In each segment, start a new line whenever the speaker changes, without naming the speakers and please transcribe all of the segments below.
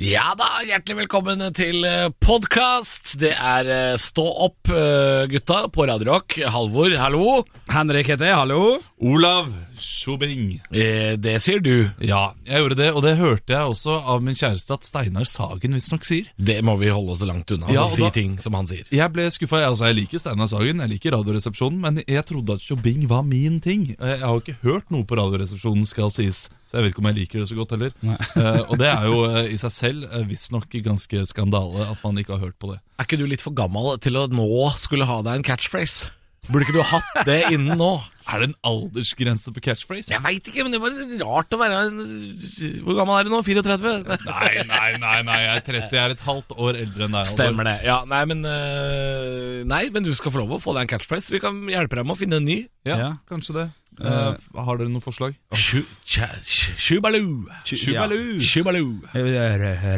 Ja da, hjertelig velkommen til podkast. Det er eh, Stå opp, eh, gutta, på Radio Rock. Halvor, hallo.
Henrik heter jeg, hallo.
Olav Sjobing.
Eh, Det sier du.
Ja, jeg gjorde det, og det hørte jeg også av min kjæreste at Steinar Sagen visstnok sier.
Det må vi holde oss langt unna.
Ja,
å
og
si
da-
ting som han sier.
Jeg ble skuffa, jeg altså. Jeg liker Steinar Sagen, jeg liker Radioresepsjonen, men jeg trodde at Sjobing var min ting. Eh, Jeg har jo ikke hørt noe på Radioresepsjonen, skal sies, så jeg vet ikke om jeg liker det så godt heller. Eh, og det er jo eh, i seg selv eh, visstnok ganske skandale at man ikke har hørt på det.
Er ikke du litt for gammel til å nå skulle ha deg en catchphrase? Burde ikke du hatt det innen nå?
Er det en aldersgrense på catchphrase?
Jeg veit ikke, men det var litt rart å være en- Hvor gammel er du nå? 34?
Nei, nei, nei, nei, jeg er 30, jeg er et halvt år eldre enn deg. Halvor.
Stemmer det. Ja, nei, men eh, Nei, men du skal få lov å få deg en catchphrase. Vi kan hjelpe deg med å finne en ny.
Ja,
Ja.
kanskje det. Eh, har dere noen forslag?
Shu- cha- shu- Shubaloo.
Shubaloo.
Shubaloo.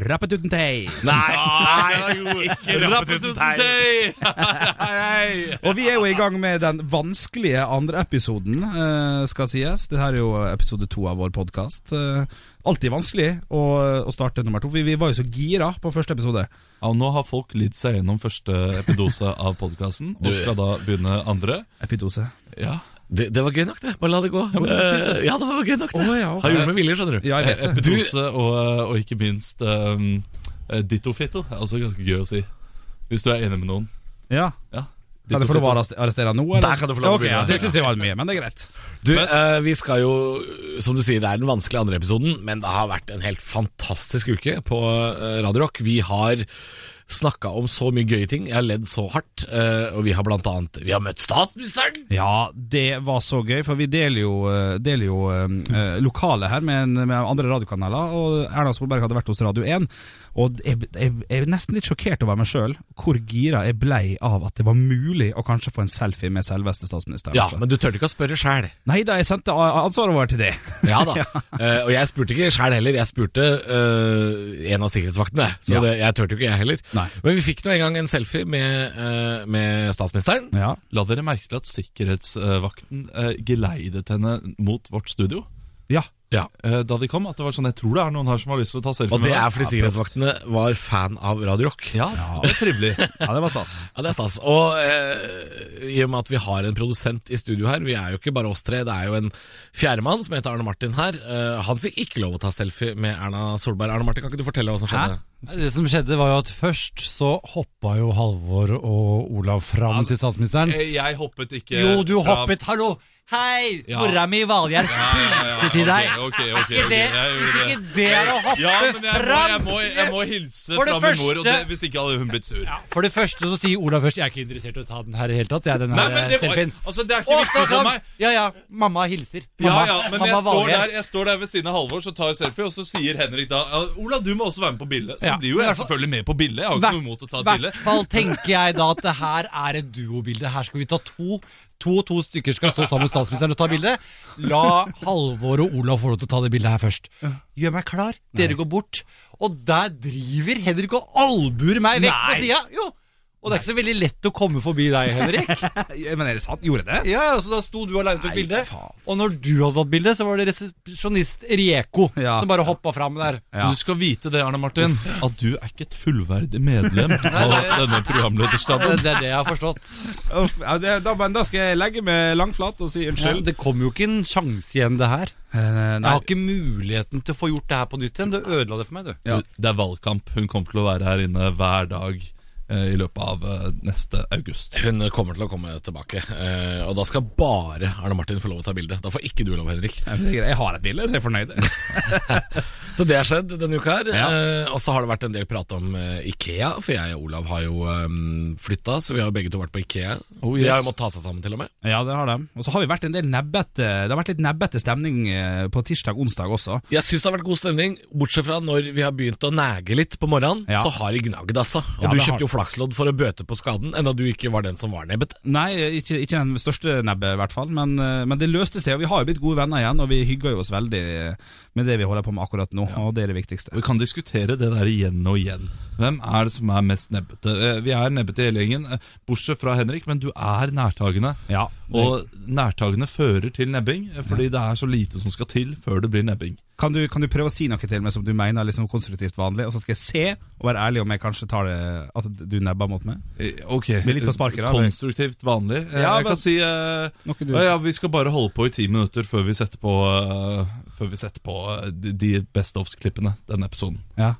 Rappet uten tei.
Nei, ikke
Rappetutentei!
Og vi er jo i gang med den vanskelige andre episoden, eh, skal sies. Dette er jo episode to av vår podkast. Alltid vanskelig å, å starte nummer to. Vi, vi var jo så gira på første episode.
Ja, nå har folk lidd seg gjennom første epidose av podkasten, og skal da begynne andre.
Epidose.
Ja,
Det, det var gøy nok, det. Bare la det gå. Ja, det var gøy nok, det.
Å, ja, ok.
Han gjorde det med vilje, skjønner du.
Ja, jeg vet det.
Epidose og, og ikke minst um, dittofitto er også ganske gøy å si. Hvis du er enig med noen.
Ja.
Ja.
Kan jeg få lov å arrest- arrestere han nå? eller?
Der kan du få lov å
Ok, ja,
begynne.
Det syns jeg var mye, men det er greit.
Du, eh, vi skal jo, som du sier, det er den vanskelige andre episoden, men det har vært en helt fantastisk uke på eh, Radio Rock. Vi har snakka om så mye gøye ting. Jeg har ledd så hardt. eh, og vi har blant annet Vi har møtt statsministeren!
Ja, det var så gøy, for vi deler jo, deler jo eh, lokalet her med, en, med andre radiokanaler, og Erna Solberg hadde vært hos Radio 1, og jeg, jeg, jeg er nesten litt sjokkert over meg sjøl hvor gira jeg blei av at det var mulig å kanskje få en selfie med selveste statsministeren.
Ja,
altså.
men du turte ikke å spørre sjæl.
Nei da, jeg sendte a- ansvaret over til det.
Ja da. Eh, og jeg spurte ikke sjæl heller, jeg spurte eh, en av sikkerhetsvaktene. Så
Ja.
det, jeg turte jo ikke, jeg heller.
Nei.
Men vi fikk nå en gang en selfie med, eh, med statsministeren.
Ja,
La dere merke til at sikkerhetsvakten eh, geleidet henne mot vårt studio.
ja.
Ja.
eh, Da de kom, at det var sånn Jeg tror det er noen her som har lyst til å ta selfie
Og det
med
er
meg.
fordi sikkerhetsvaktene var fan av Radio Rock.
Ja, det er trivelig.
ja det var stas.
Ja, det er stas. Og eh, i og med at vi har en produsent i studio her, vi er jo ikke bare oss tre, det er jo en fjerdemann som heter Arne Martin her. Eh, han fikk ikke lov å ta selfie med Erna Solberg. Arne Martin, kan ikke du fortelle hva som skjedde?
Nei, Det som skjedde var jo at først så hoppa jo Halvor og Olav fram til statsministeren.
Eh, Jeg hoppet ikke
Jo, du
fram.
hoppet, hallo! Hei!
Ja.
Mora mi Valgjerd hilser til deg.
Ok, ok, ok,
Ikke
ok,
det,
jeg gjorde
hvis
det.
ikke det er å hoppe
Ja, men jeg må, jeg
fram!
må, jeg må
Yes!
hilse
For det
fra min mor, og
første-
det, hvis ikke hadde hun blitt sur.
For det første så sier Olav først Jeg er ikke interessert i å ta den her i det hele tatt. Jeg er den
Nei,
her
men det,
eh,
var,
selfien.
altså, det er ikke
Og
viktig
så
for
kom
meg.
Ja, ja, mamma hilser.
Ja,
Mamma,
ja, men jeg
mamma
står,
Valgjerd.
der, jeg står der ved siden av Halvor, så tar selfie, og så sier Henrik da «Ja, Ola, du må også være med på bildet. Så
Ja,
blir jo
men
jeg
i hvert fall-
selvfølgelig med på bildet. Jeg har jo ikke noe imot å ta et
hvert
bilde.
fall tenker jeg da at det her er et duobilde. Her skal vi ta to. To to stykker skal stå sammen med statsministeren og ta bilde. La Halvor og Olav få lov til å ta det bildet her først. Gjør meg klar. Dere går bort. Og der driver Henrik og albuer meg vekk på sida. Jo. Og det er ikke så veldig lett å komme forbi deg, Henrik.
Ja, Men er det sant? Gjorde det?
Ja, ja, Så da sto du og laget
Nei,
et bilde.
faen.
Og når du hadde tatt bilde, så var det resepsjonist Rieko
Ja.
som bare hoppa fram der.
Ja.
Du skal vite det, Arne Martin, at du er ikke et fullverdig medlem av denne
Det
programlederstaben.
er det jeg har forstått.
Uff, ja, det da, men da skal jeg legge meg langflat og si unnskyld.
Det kom jo ikke en sjanse igjen, det her.
Eh,
Jeg
nei.
har ikke muligheten til å få gjort det her på nytt igjen. Du ødela det for meg, du.
Ja.
Du, Det er valgkamp. Hun kommer til å være her inne hver dag eh, i løpet av eh, neste august.
Hun kommer til å komme tilbake, eh, og da skal bare Arne Martin få lov å ta bilde. Da får ikke du lov, Henrik.
Nei, men det er greit. Jeg har et bilde, så jeg er fornøyd.
Så det har skjedd denne uka her. Eh, og så har det vært en del prat om eh, Ikea, for jeg og Olav har jo eh, flytta, så vi har jo begge to vært på Ikea.
Oh,
De har
yes.
jo måttet ta seg sammen, til og med.
Ja, det har de. Og så har vi vært en del nebbete Det har vært litt nebbete stemning eh, på tirsdag onsdag også.
Jeg syns det har vært god stemning, bortsett fra når vi har begynt å næge litt på morgenen.
Ja.
Så har de gnagd, altså. Og
Ja,
du
det har
kjøpte jo flakslodd for å bøte på skaden, enda du ikke var den som var nebbet.
Nei, ikke, ikke den største nebbet, i hvert fall, men, eh, men det løste seg. Og vi har jo blitt gode venner igjen, og vi hygger jo oss veldig med det vi holder på med akkurat nå. og det er det viktigste.
Vi kan diskutere det der igjen og igjen. Hvem er det som er mest nebbete? Eh, Vi er nebbete hele gjengen, eh, bortsett fra Henrik, men du er nærtagende.
Ja,
Og nærtagende fører til nebbing, eh, fordi det er så lite som skal til før det blir nebbing.
Kan du, kan du prøve å si noe til meg som du mener er liksom konstruktivt vanlig, og så skal jeg se og være ærlig om jeg kanskje tar det at du nebber mot meg?
Eh, Ok,
Blir litt på sparket, da, eller?
konstruktivt vanlig. Eh,
Ja,
jeg
men-
kan si eh,
Noe du-
ja, ja, vi skal bare holde på i ti minutter før vi setter på, eh, før vi setter på eh, de- de best offs-klippene denne episoden.
Ja.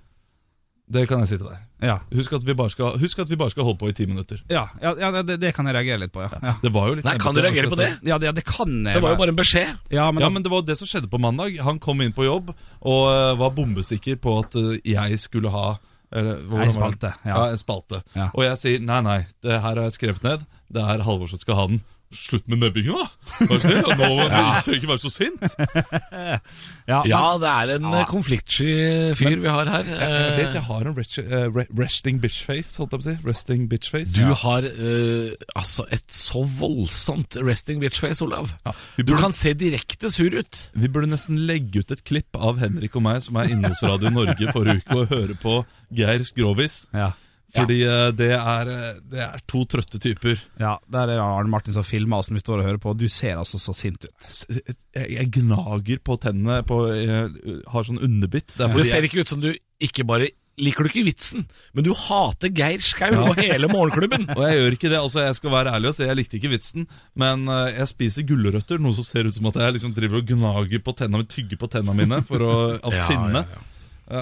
Det kan jeg si til deg.
Ja,
Husk at vi bare skal, husk at vi bare skal holde på i ti minutter.
ja, ja, ja det, det kan jeg reagere litt på, ja. Ja,
Det var jo litt
Nei, kan du
nebbete
reagere på
akkurat
det?
ja det, ja, det kan jeg
Det var jo
være.
bare en beskjed.
Ja, men,
Ja,
da-
men det var det som skjedde på mandag. Han kom inn på jobb og eh, var bombesikker på at eh, jeg skulle ha eller, hvordan var det?
spalte, ja.
Ja, en spalte.
Ja.
Og jeg sier nei, nei, det her har jeg skrevet ned. Det er Halvor som skal ha den. Slutt med nebbingen, da! Vær så snill. Nå ja. trenger ikke være så sint.
ja, men-
Ja, det er en eh, konfliktsky fyr vi har her.
Jeg
Eh,
vet jeg har en rest, eh, re- resting bitch-face, holdt jeg på å si. Resting bitch-face.
Du har eh, altså et så voldsomt resting bitch face, Olav.
vi
Du
burde-
kan se direkte sur ut.
Vi burde nesten legge ut et klipp av Henrik og meg som er inne hos Radio Norge forrige uke og høre på Geir Skrovis.
ja.
Fordi eh, det, er, eh, det er to trøtte typer.
Ja, der er Arne Martin som filmer oss når vi står og hører på. Du ser altså så sint ut.
S- Jeg, jeg gnager på tennene, på, jeg har sånn underbitt. Det er
Det
fordi
ser
jeg,
ikke ut som du ikke bare liker du ikke vitsen, men du hater Geir Skau og hele morgenklubben.
og jeg gjør ikke det. altså Jeg skal være ærlig og si jeg likte ikke vitsen, men eh, jeg spiser gulrøtter, noe som ser ut som at jeg liksom driver og gnager på tennene, mine, tygger på tennene mine for å, av
Ja,
sinne.
ja, ja.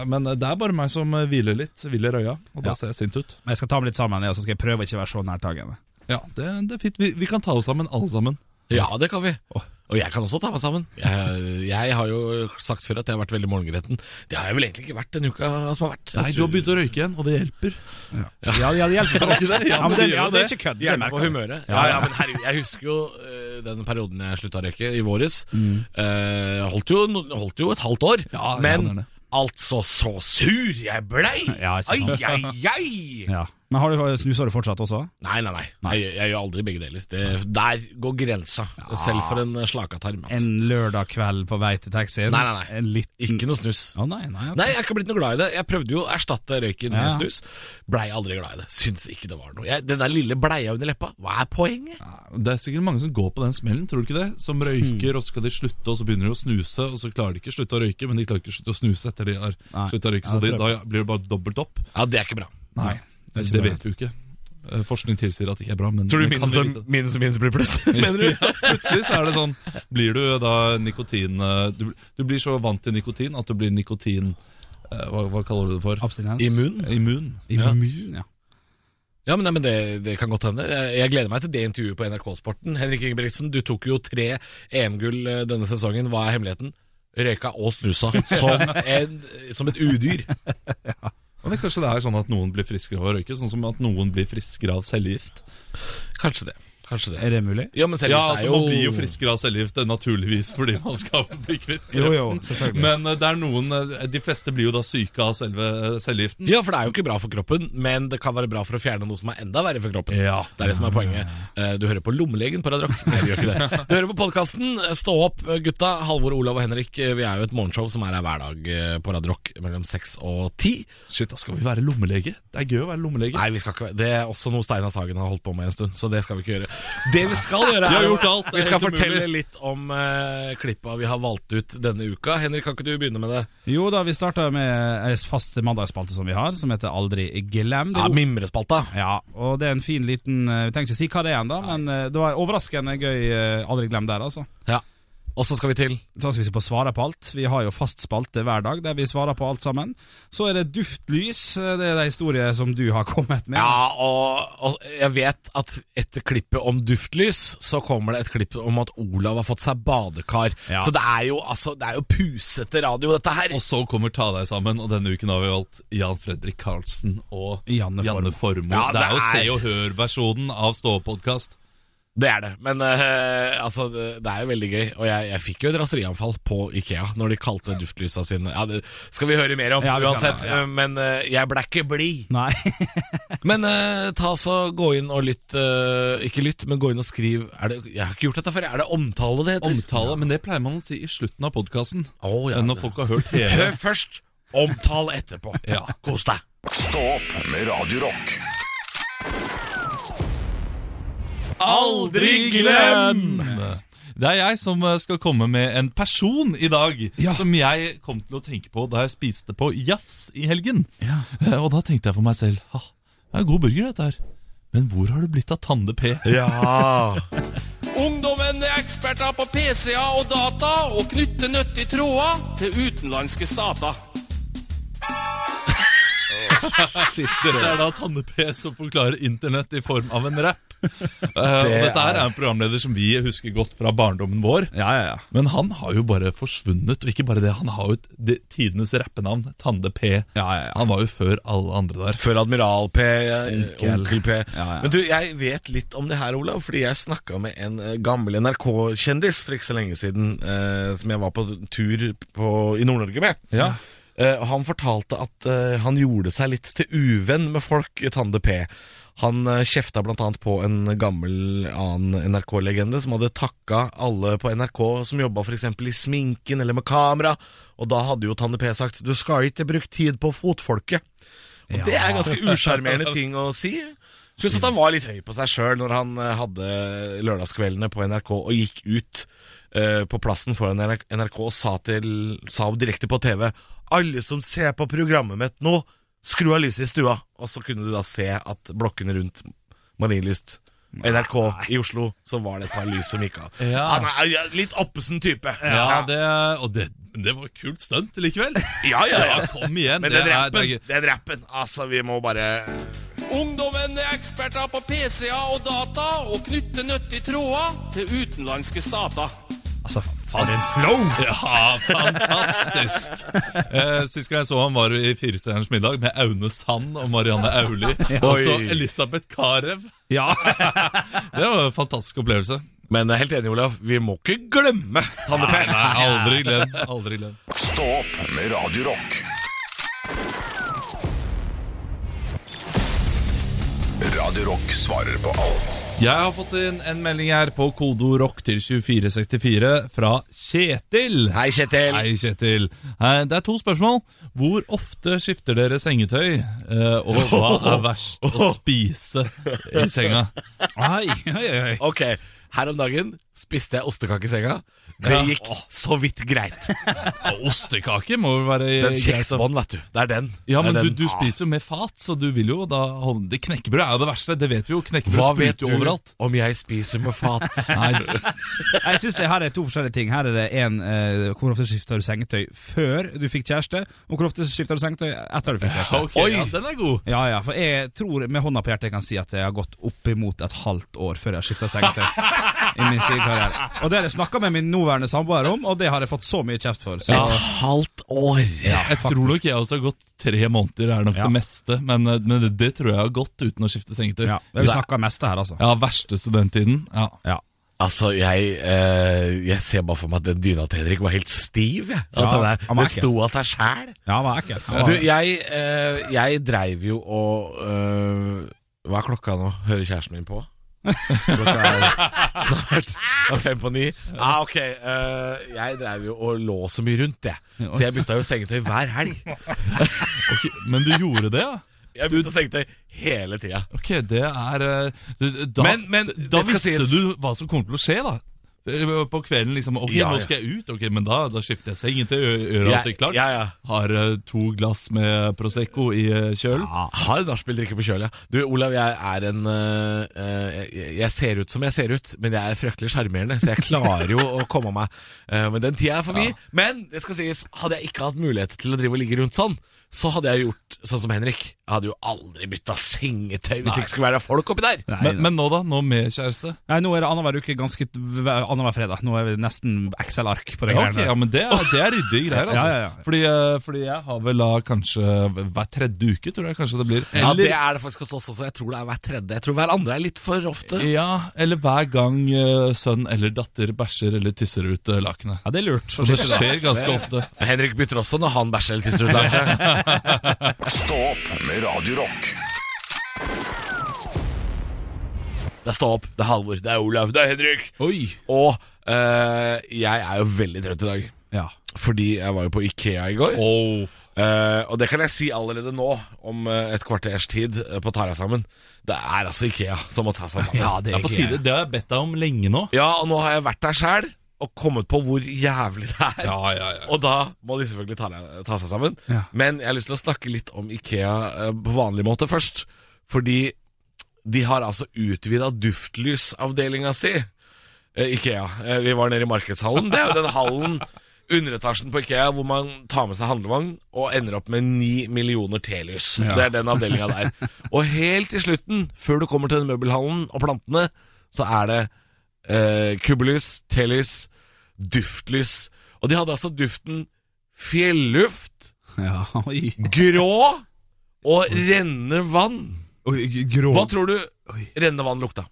Eh, Men eh, det er bare meg som eh, hviler litt, hviler øya, og da
Ja.
ser jeg sint ut.
Men jeg skal ta meg litt sammen, ja, så skal jeg prøve å ikke være så nærtagende.
Ja, det, det er fint. Vi, vi kan ta oss sammen, alle sammen.
Ja, det kan vi. Og jeg kan også ta meg sammen. Jeg, jeg har jo sagt før at jeg har vært veldig morgengretten. Det har jeg vel egentlig ikke vært den uka som har vært. Jeg
Nei, du har
tror-
begynt å røyke igjen, og det hjelper.
Ja, ja det hjelper for oss.
Ja, men det
Ja, men det,
gjør
ja,
jo
det er
det.
ikke kødd. Det
Hjelpe på
merker vi.
humøret. Ja, ja, men herregud, jeg husker jo eh, den perioden jeg slutta å røyke, i våres.
Mm.
Eh, holdt, jo, holdt jo et halvt år.
Ja,
men
ja, det er det.
altså så sur jeg blei!
Ja, ikke
ai,
sant.
ai, ai!
Ja. Men har du snuser du fortsatt også?
Nei, nei, nei. Jeg, jeg gjør aldri begge deler. Det, der går grensa, selv for en slakatarm.
En
Altså.
lørdag kveld på vei til taxien?
Nei, nei, nei.
En liten...
Ikke noe snus.
Å, nei, nei, ok.
Nei, jeg er ikke blitt noe glad i det. Jeg prøvde jo å erstatte røyken med
Ja.
snus. Blei aldri glad i det. Syns ikke det var noe. Jeg, den der lille bleia under leppa, hva er poenget?
Det er sikkert mange som går på den smellen, tror du ikke det? Som røyker, og så skal de slutte, og så begynner de å snuse, og så klarer de ikke å slutte å røyke, men de klarer ikke å slutte å snuse etter de har
Nei.
slutta å røyke, så
Ja, det
de,
tror
da blir det bare dobbelt opp.
Ja, det er ikke bra.
Nei, det,
det er ikke bra.
vet vi jo ikke. Eh, Forskning tilsier at det ikke er bra, men
Tror du
men kan
minus
vi
og
vite?
minus, og minus blir pluss? Mener du?
Ja, plutselig så er det sånn Blir du da nikotin eh, du, du blir så vant til nikotin at du blir nikotin eh, hva, hva kaller du det for?
Abstinens?
Immun?
Immun. Ja.
Immun, ja.
Ja, men, nei, men det, det kan godt hende. Jeg, jeg gleder meg til det intervjuet på NRK-sporten. Henrik Ingebrigtsen, du tok jo tre EM-gull eh, denne sesongen. Hva er hemmeligheten? Røyka og snusa. Som, en, som et udyr.
Og det, kanskje det er sånn at noen blir friskere av å røyke, sånn som at noen blir friskere av cellegift.
Kanskje det. Kanskje det.
Er det mulig?
Ja, men
Ja,
selvgift er
altså
jo
Man blir jo friskere av cellegift, eh, naturligvis, fordi man skal bli kvitt
Jo, jo,
kreften.
selvfølgelig.
Men eh, det er noen eh, De fleste blir jo da syke av selve eh, cellegiften.
Ja, for det er jo ikke bra for kroppen, men det kan være bra for å fjerne noe som er enda verre for kroppen.
Ja.
Det er det som er poenget. Eh, Du hører på Lommelegen på Radio Rock. Nei, du gjør ikke det. Du hører på podkasten Stå opp, gutta. Halvor, Olav og Henrik, eh, vi er jo et morgenshow som er her hver dag eh, på Radio Rock mellom seks og ti.
Shit, da skal vi være lommelege. Det er gøy å være lommelege.
Nei, vi skal ikke Det er også noe Steinar Sagen har holdt på med en stund, så det skal vi ikke gjøre. Det vi skal gjøre,
Vi har
er jo-
gjort alt, det er
Vi skal
helt
fortelle
umulig.
litt om eh, klippa vi har valgt ut denne uka. Henrik, kan ikke du begynne med det?
Jo da, vi starta med ei fast mandagsspalte som vi har, som heter Aldri glem. Det er
Ja, Mimrespalta.
Ja, og det er en fin liten eh, Vi trenger ikke si hva det er ennå, men eh, det var overraskende gøy. eh, Aldri glem der, altså.
Ja. Og så skal vi til
Da skal vi se på svaret på alt. Vi har jo fast spalte hver dag der vi svarer på alt sammen. Så er det duftlys. eh, Det er de historiene som du har kommet med.
Ja, og, og jeg vet at etter klippet om duftlys, så kommer det et klipp om at Olav har fått seg badekar.
Ja.
Så det er, jo, altså, det er jo pusete radio, dette her.
Og så kommer Ta deg sammen, og denne uken har vi valgt Jan Fredrik Karlsen og
Janne Formoe.
Janne Formoe.
Ja,
det er jo
det er-
Se og Hør-versjonen av Stå-podkast.
Det er det, men eh, altså, det, det er jo veldig gøy. Og jeg, jeg fikk jo et raserianfall på Ikea når de kalte duftlysa sine ja, Det skal vi høre mer om
Ja, vi skal,
uansett,
ja, ja.
eh, men eh, jeg ble ikke blid.
Nei.
Men eh, ta så gå inn og lytt eh, Ikke lytt, men gå inn og skriv er det, Jeg har ikke gjort dette før, er det omtale det heter?
Omtale, men det pleier man å si i slutten av podkasten.
Å, ja,
når
det-
folk har hørt hele.
Hør først, omtale etterpå
Ja.
Kos deg
Stå opp med Radio Rock.
Aldri glem! Det er jeg som eh, skal komme med en person i dag
Ja.
som jeg kom til å tenke på da jeg spiste på Jafs i helgen.
Ja.
Eh, Og da tenkte jeg for meg selv ha, det er god burger dette her. Men hvor har det blitt av Tande P?
Ja
Ungdommen er eksperter på PC-er og data og knytter nyttige tråder til utenlandske stater.
Det er da Tanne P som forklarer internett i form av en rapp. Eh, og
Det
dette her er en programleder som vi husker godt fra barndommen vår.
Ja, ja, ja.
Men han har jo bare forsvunnet, og ikke bare det, han har jo et- det, tidenes rappenavn, Tande P.
Ja, ja, ja.
Han var jo før alle andre der.
Før Admiral P, eh,
Onkel.
Onkel P.
Ja, ja.
Men du, jeg vet litt om det her, Olav, fordi jeg snakka med en eh, gammel NRK-kjendis for ikke så lenge siden, eh, som jeg var på tur på, i Nord-Norge med.
Ja.
Eh, og han fortalte at eh, han gjorde seg litt til uvenn med folk, eh, Tande P. Han eh, kjefta bl.a. på en gammel annen NRK-legende som hadde takka alle på NRK som jobba f.eks. i sminken eller med kamera, og da hadde jo Tande P sagt 'du skal ikke bruke tid på fotfolket'. Og Det er ganske usjarmerende ting å si. Syns at han var litt høy på seg sjøl når han eh, hadde lørdagskveldene på NRK og gikk ut eh, på plassen foran NRK og sa, til, sa direkte på TV Alle som ser på programmet mitt nå, skru av lyset i stua. Og så kunne du da se at blokkene rundt Marienlyst NRK i Oslo, så var det et par lys som gikk av.
Ja.
Han er ja, litt oppesen type.
Ja, det, og det, det var et kult stunt likevel.
ja, ja, ja.
Ja, kom igjen.
Men
det
den
er- det er
rappen,
gøy.
den rappen Altså, vi må bare
Ungdommen er eksperter på PC-er og data og knytter nyttige tråder til utenlandske stater.
Altså, faen, en flow!
Ja, fantastisk! Eh, sist gang jeg så han var i Firestjerners middag med Aune Sand og Marianne Auli. Og så
Oi.
Elisabeth Carew.
Ja.
Det var en fantastisk opplevelse.
Men jeg er helt enig, Olav. Vi må ikke glemme Tanne P.
Nei, aldri glem. Aldri glem.
Stå opp med Radio Rock. Radio Rock svarer på alt.
Jeg har fått inn en melding her på kodo rock til 2464 fra Kjetil.
Hei, Kjetil.
Hei, Kjetil. Eh, Det er to spørsmål. Hvor ofte skifter dere sengetøy? Eh, Og hva er verst å spise i senga?
Oi, oi, oi.
Ok, her om dagen spiste jeg ostekake i senga. Det gikk så vidt greit.
Ostekake må vel være
Den
greit å-
kjeksbånd, vet du. Det er den.
Ja, men
det er
du,
den. Ah.
du spiser jo med fat, så du vil jo da holde det. Knekkebrød er jo det verste, det vet vi jo. Knekkebrød
Hva vet
spruter
du
jo overalt.
om jeg spiser med fat?
Jeg syns det her er to forskjellige ting. Her er det en, eh, Hvor ofte skifter du sengetøy før du fikk kjæreste, og hvor ofte skifter du sengetøy etter du fikk kjæreste?
Ok, ja, den er god.
Ja, ja, for jeg tror med hånda på hjertet jeg kan si at jeg har gått oppimot et halvt år før jeg har skifta sengetøy. I min singelkarriere. Og det har jeg snakka med min nåværende samboer om, og det har jeg fått så mye kjeft for. Så.
Ja.
halvt år.
Ja,
Jeg tror nok jeg også har gått tre måneder, er nok
Ja.
det meste. Men, eh, men det, det tror jeg har gått uten å skifte sengetøy.
Ja, Vi snakker mest her, altså.
ja verste studenttiden. Ja.
Ja.
Altså, jeg, eh, jeg ser bare for meg at den dyna til Henrik var helt stiv. jeg. At
Ja,
den der-
han var
den sto av seg sjæl.
Ja, han var ekkel. Han
Du,
var-
jeg, eh, jeg dreiv jo og eh, Hva er klokka nå? Hører kjæresten min på? Klokka er snart det er fem på ni. Ah, ok, eh, jeg dreiv jo og lå så mye rundt, jeg. Så jeg bytta jo sengetøy hver helg.
Ok, men du gjorde det, ja?
Jeg bytta sengetøy hele tida.
Ok, det er eh, d- Da,
Men- men
da
det skal
visste
sies-
du hva som kommer til å skje, da. Eh, På kvelden liksom Ok,
Ja, ja.
nå skal jeg ut. Ok, Men da, da skifter jeg sengetøy, gjør- gjør alt
Jeg-
klart.
Ja, ja.
Har eh, to glass med Prosecco i eh, kjølen.
Har nachspiel-drikke på kjøl, ja. Du, Olav, jeg er en øh, øh, jeg, jeg ser ut som jeg ser ut, men jeg er fryktelig sjarmerende, så jeg klarer jo å komme meg. Eh, men den tida er forbi. Men det skal sies, hadde jeg ikke hatt mulighet til å drive og ligge rundt sånn, så hadde jeg gjort sånn som Henrik. Jeg hadde jo aldri bytta sengetøy hvis det ikke skulle være folk oppi der.
Nei,
Men, men nå, da? Nå med kjæreste?
Nei, nå er det annenhver uke, ganske annenhver fredag. Nå er vi nesten Excel-ark på det
Ja,
greiene
ok, ja, men det er, det er ryddige greier, altså.
Ja, ja, ja.
Fordi, eh, fordi jeg har vel da kanskje hver tredje uke, tror jeg kanskje det blir.
Ja, det er det faktisk hos oss også. Jeg tror det er hver tredje. Jeg tror hver andre er litt for ofte.
ja, eller hver gang eh, sønn eller datter bæsjer eller tisser ut eh, lakenet.
Ja, det er lurt.
Så det skjer ganske ofte.
Henrik bytter også når han bæsjer eller tisser ut der.
Stå opp med Radio Rock.
Det er Stå opp, det er Halvor, det er Olav, det er Henrik.
Oi.
Og eh, jeg er jo veldig trøtt i dag.
Ja.
Fordi jeg var jo på Ikea i går. Eh, og det kan jeg si allerede nå, om eh, et kvarters tid, eh, på å ta deg sammen. Det er altså Ikea som må ta seg sammen.
Ja, det
Det
er
er på
ikke-
tide. Det har jeg bedt deg om lenge nå.
Ja, og nå har jeg vært der sjæl og kommet på hvor jævlig det er. Og da må de selvfølgelig ta, ta seg sammen.
Ja.
Men jeg har lyst til å snakke litt om Ikea eh, på vanlig måte først. Fordi de har altså utvida duftlysavdelinga si, eh, Ikea. Eh, vi var nede i markedshallen. Det er jo den hallen, underetasjen på Ikea, hvor man tar med seg handlevogn og ender opp med ni millioner telys. Det er den avdelinga der. Og helt til slutten, før du kommer til den møbelhallen og plantene, så er det eh, kubbelys, telys, duftlys. Og de hadde altså duften fjelluft,
Ja, oi.
grå og rennende vann.
Oi, grå
Hva tror du
Oi. Ah.
rennende vann lukta?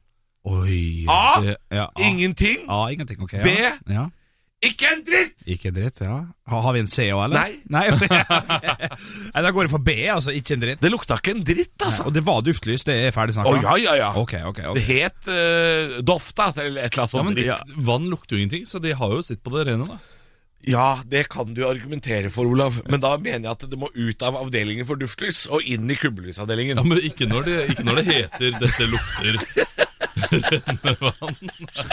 Oi.
A.
Det-
Ja, A.
Ingenting.
A, ingenting. Ok. Ja.
B.
Ja.
Ikke en dritt!
Ikke en dritt, ja. Ha, har vi en C òg, eller?
Nei.
Nei, ok. Nei, da går jeg for B, altså. Ikke en dritt.
Det lukta ikke en dritt, altså.
Og det var duftlys, det er ferdig
Å
snakka?
ja, ja, ja.
Ok, ok. ok.
Det het eh, Dofta, eller et eller annet sånt.
Ja, men
dritt.
ja. Vann lukter jo ingenting, så de har jo sitt på det rene. da
Ja, det kan du argumentere for, Olav. Men da mener jeg at det må ut av avdelingen for duftlys og inn i kubbelysavdelingen.
Ja, Men ikke når det, ikke når det heter 'dette lukter'.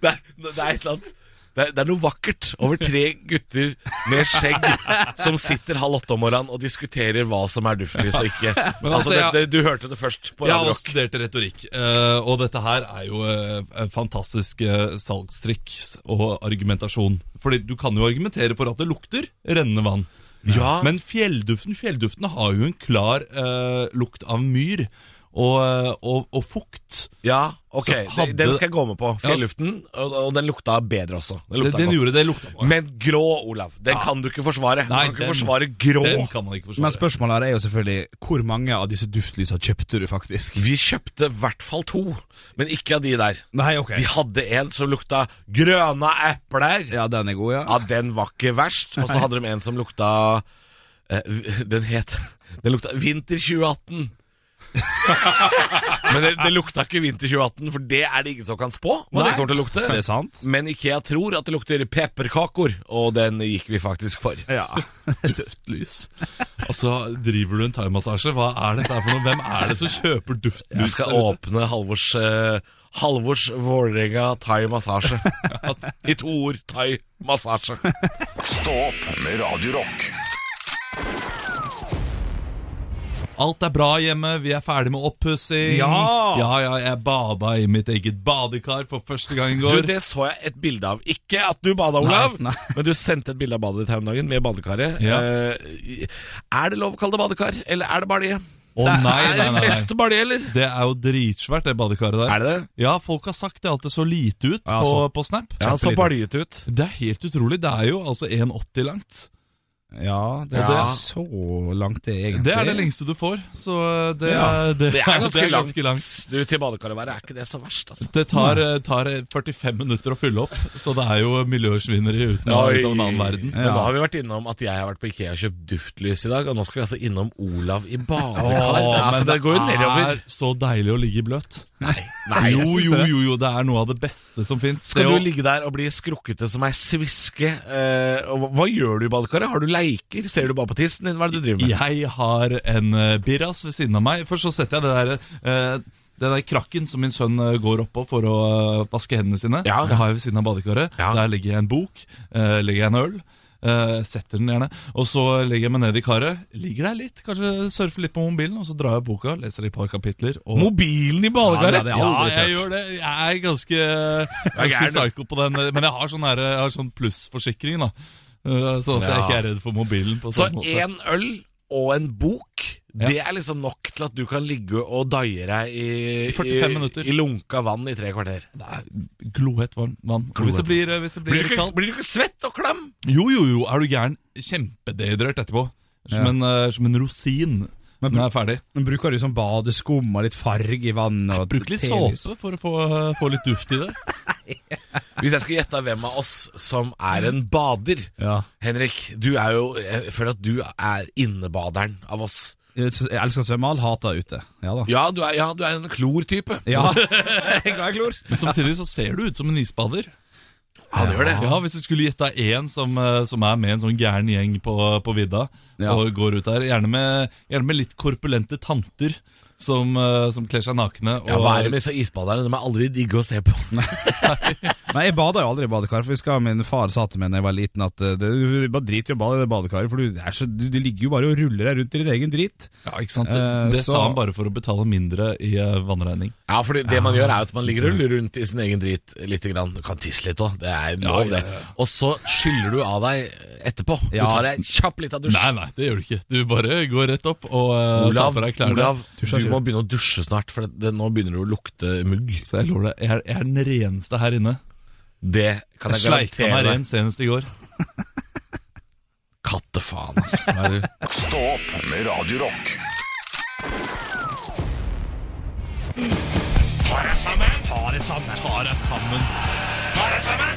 det, er, det er et eller annet det er, det er noe vakkert over tre gutter med skjegg som sitter halv åtte om morgenen og diskuterer hva som er duftlys og ikke. altså,
Men altså,
det,
jeg-
det, du hørte det først på
Jeg
Radio
har
Rock.
studert retorikk, eh, og dette her er jo eh, en fantastisk eh, salgstriks og argumentasjon. Fordi du kan jo argumentere for at det lukter rennende vann.
Ja.
Men fjellduften fjellduften har jo en klar eh, lukt av myr og, eh, og, og fukt.
Ja, ok.
Så hadde-
Den skal jeg gå med på. Fjelluften. Og, og den lukta bedre også. Den
Den,
lukta
den
godt.
gjorde det lukta bra.
Men grå, Olav, den kan du ikke forsvare. Du
Nei,
kan ikke
den-
forsvare grå.
Den kan man ikke
Men
forsvare.
spørsmålet her er jo selvfølgelig hvor mange av disse duftlysa kjøpte du faktisk?
Vi kjøpte i hvert fall to, men ikke av de der.
Nei, ok.
Vi hadde en som lukta grøna epler.
Ja, den er god, ja.
Ja, den var ikke verst. Og så hadde de en som lukta eh, v- Den het Den lukta Vinter 2018. Men det, det lukta ikke Vinter 2018, for det er det ingen som kan spå hva det
Nei.
kommer til å lukte.
Det er sant.
Men Ikea tror at det lukter pepperkaker, og den gikk vi faktisk for.
Ja.
Duftlys. Altså, driver du en thaimassasje? Hva er dette her for noe? Hvem er det som kjøper duftlys?
Jeg skal
der ute?
åpne Halvors eh, Halvors Vålerenga thai massasje. I to ord thai massasje.
Stå opp med Radio Rock.
Alt er bra hjemme, vi er ferdig med oppussing.
Ja!
ja, ja, jeg bada i mitt eget badekar for første gang i
Du,
går.
det så jeg et bilde av. Ikke at du bada, Olav,
Nei,
men du sendte et bilde av badet ditt her om dagen med badekaret.
Ja.
Eh, er det lov å kalle det badekar, eller er det balje?
Å,
det er,
nei,
er
nei, nei,
det
nei.
mest balje, eller?
Det er jo dritsvært, det badekaret der.
Er det det?
Ja, folk har sagt det at det så lite ut
Ja,
på,
så-
på Snap.
altså. Ja, så
Kjempelite.
baljete ut.
Det er helt utrolig. Det er jo altså 1,80 langt.
ja, det er
Ja.
så langt det egentlig.
Det er det lengste du får, så eh, det,
Ja,
er- det,
Det er ganske,
ganske langt.
langt. Du, til badekaret å være, er ikke det så verst, altså.
Det tar, eh, tar 45 minutter å fylle opp, så det er jo miljøsvineri uten
Oi.
av en annen verden.
Men da har vi vært innom at jeg har vært på Ikea og kjøpt duftlys i dag, og nå skal vi altså innom Olav i badekar. altså, det går jo nedover.
er så deilig å ligge i bløt.
Nei, nei,
jo,
jeg synes
jo,
det.
jo, jo, det er noe av det beste som fins.
Skal du ligge der og bli skrukkete som ei sviske? eh, og hva, hva gjør du i badekaret? Har du leiker? Ser du bare på tissen din? Hva er det du driver med?
Jeg har en eh, Birras ved siden av meg. Først så setter jeg det der eh, det der krakken som min sønn eh, går oppå for å eh, vaske hendene sine,
Ja.
det har jeg ved siden av badekaret.
Ja.
Der legger jeg en bok, eh, legger jeg en øl, eh, setter den gjerne, og så legger jeg meg ned i karet. Ligger der litt, kanskje surfer litt på mobilen, og så drar jeg boka, leser et par kapitler. Og
Mobilen i badekaret?
Ja, det hadde jeg
ja,
aldri
jeg
tørt.
gjør det. Jeg er ganske, ganske psyko på den. Men jeg har sånn, her- jeg har sånn plussforsikring, da. eh, Sånn at jeg
Ja.
ikke er redd for mobilen på
Så
sånn måte.
én øl og en bok, det er liksom nok til at du kan ligge og daie deg i,
I 45 minutter.
i, i lunka vann i tre kvarter.
Det er glohett varm vann. Og Hvis det blir, eh, hvis det
Blir du,
blir litt
ikke,
kaldt
blir du ikke svett og klam?
Jo, jo, jo, er du gæren. Kjempedehydrert etterpå. Som,
Ja.
en, eh, som en rosin
Men-
når jeg er ferdig.
Men bruker du sånn badeskum og litt farge i vannet? og
Bruk litt
telys?
såpe for å få, eh, få litt duft i det.
Hvis jeg skulle gjette hvem av oss som er en bader
Ja.
Henrik, du er jo Jeg føler at du er innebaderen av oss.
Jeg elsker å svømme, all hater ute. Ja da.
Ja, du er, ja, du er en klortype.
Ja, jeg er klor.
Men samtidig så ser du ut som en isbader.
Ja, det gjør det.
Ja, Hvis du skulle gjette deg én som, eh, som er med en sånn gæren gjeng på, på vidda,
Ja.
og går ut der, gjerne med, gjerne med litt korpulente tanter som, eh, som kler seg nakne. Og,
Ja, Hva er det med disse isbaderne? De er aldri digge å se på.
Nei, jeg bader jo aldri i badekar, for jeg husker min far sa til meg da jeg var liten at eh, det, du bare drit i å bade i det badekaret, for du, det er så, du, du ligger jo bare og ruller deg rundt i din egen drit.
Ja, ikke sant? Det,
Eh,
det
så-
sa han bare for å betale mindre i eh, vannregning.
Ja, for det man gjør er jo at man ligger og ruller rundt i sin egen drit litt. Grann. Du kan tisse litt òg, det er lov,
Ja, ja, ja.
det. Og så skyller du av deg etterpå. Du
Ja.
tar deg en kjapp lita dusj.
Nei, nei, det gjør du ikke. Du bare går rett opp og eh, tar
Olav,
på deg klærne.
Olav du
Dusja, sier
må begynne å dusje snart, for det, det, nå begynner det å lukte mugg.
Så jeg lover deg, jeg er, jeg er den reneste her inne.
Det kan
Jeg
jeg
sleika meg
garantere
ren
deg.
senest i går.
Kattefaen, altså. Hva er det?
Stå opp med Radio Rock.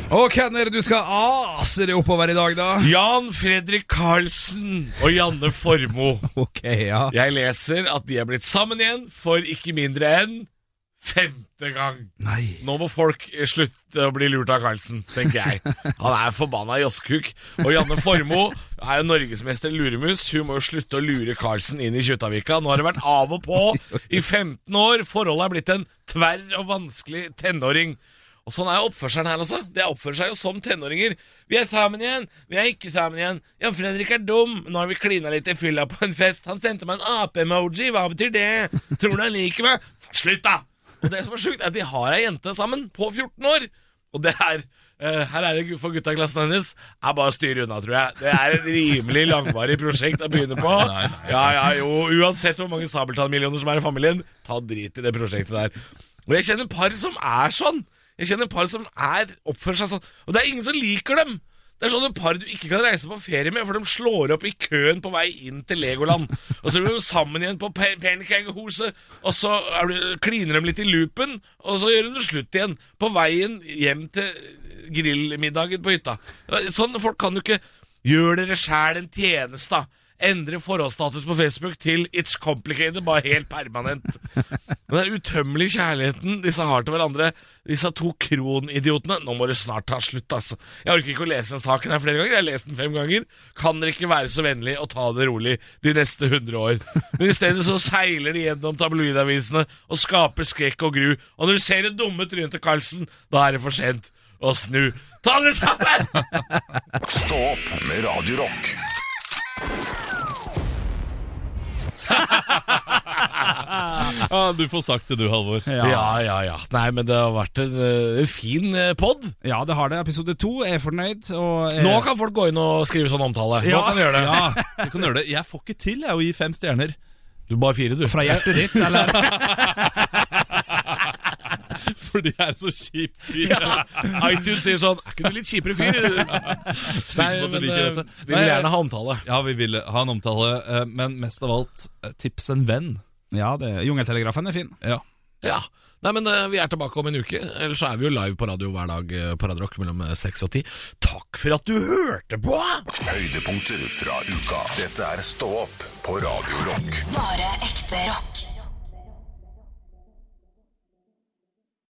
Og hvem er det du skal ase deg oppover i dag, da?
Jan Fredrik Karlsen og Janne Formoe.
Ok, ja.
Jeg leser at de er blitt sammen igjen for ikke mindre enn femte gang.
Nei.
Nå må folk eh, slutte å bli lurt av Carlsen, tenker jeg. Han er forbanna josskuk. Og Janne Formoe er jo norgesmester i luremus. Hun må jo slutte å lure Carlsen inn i Kjuttaviga. Nå har det vært av og på i 15 år. Forholdet er blitt en tverr og vanskelig tenåring. Og sånn er oppførselen her også. Det oppfører seg jo som tenåringer. Vi er sammen igjen, vi er ikke sammen igjen. Jan Fredrik er dum. Nå har vi klina litt i fylla på en fest. Han sendte meg en ape-emoji. Hva betyr det? Tror du han liker meg? Slutt, da! Og det som er sjukt, er at de har ei jente sammen på 14 år. Og det er eh, her er det gu- for gutta i klassen hennes. Er bare å styre unna, tror jeg. Det er et rimelig langvarig prosjekt å begynne på. Ja, ja, jo, Uansett hvor mange sabeltannmillioner som er i familien, ta drit i det prosjektet der. Og jeg kjenner par som er sånn. Jeg kjenner par som er, oppfører seg sånn. Og det er ingen som liker dem. Det er sånne par du ikke kan reise på ferie med, for de slår opp i køen på vei inn til Legoland. Og så blir de sammen igjen på Pe- Pernikagehuset, og så er du- kliner de litt i loopen, og så gjør de det slutt igjen. På veien hjem til grillmiddagen på hytta. Sånne folk kan jo ikke Gjør dere sjæl en tjeneste, da. Endre forholdsstatus på Facebook til 'it's complicated', bare helt permanent. Men den utømmelige kjærligheten disse har til hverandre, disse to kronidiotene Nå må det snart ta slutt, altså. Jeg orker ikke å lese den saken her flere ganger. Jeg har lest den fem ganger. Kan dere ikke være så vennlig og ta det rolig de neste hundre år? Men i stedet så seiler de gjennom tabloidavisene og skaper skrekk og gru. Og når du ser det dumme trynet til Carlsen, da er det for sent å snu. Ta dere sammen!
Stå opp med Radio Rock.
Ja, du får sagt det, du, Halvor.
Ja, ja, ja. Nei, men det har vært en eh, fin eh, pod.
Ja, det har det. Episode to er fornøyd. Og, eh,
Nå kan folk gå inn og skrive sånn omtale. Nå kan de gjøre det.
Ja,
Du kan gjøre det. Jeg får ikke til jeg, å gi fem stjerner.
Du bare fire, du.
Fra hjertet ditt, eller?
Fordi jeg er så kjip fyr.
Ja. iTunes sier sånn Er ikke du litt kjipere fyr? Nei,
Sikker på at du
men
liker
eh,
dette.
vi vil gjerne ha omtale.
Ja, vi vil ha en omtale, eh, men mest av alt, eh, tips en venn.
Ja, det, jungeltelegrafen er fin.
Ja.
Ja. Nei, men eh, Vi er tilbake om en uke. Ellers så er vi jo live på radio hver dag eh, på Radio Rock mellom eh, 6 og 10. Takk for at du hørte på!
Høydepunkter fra uka. Dette er Stå opp på Radio Rock.
Bare ekte rock.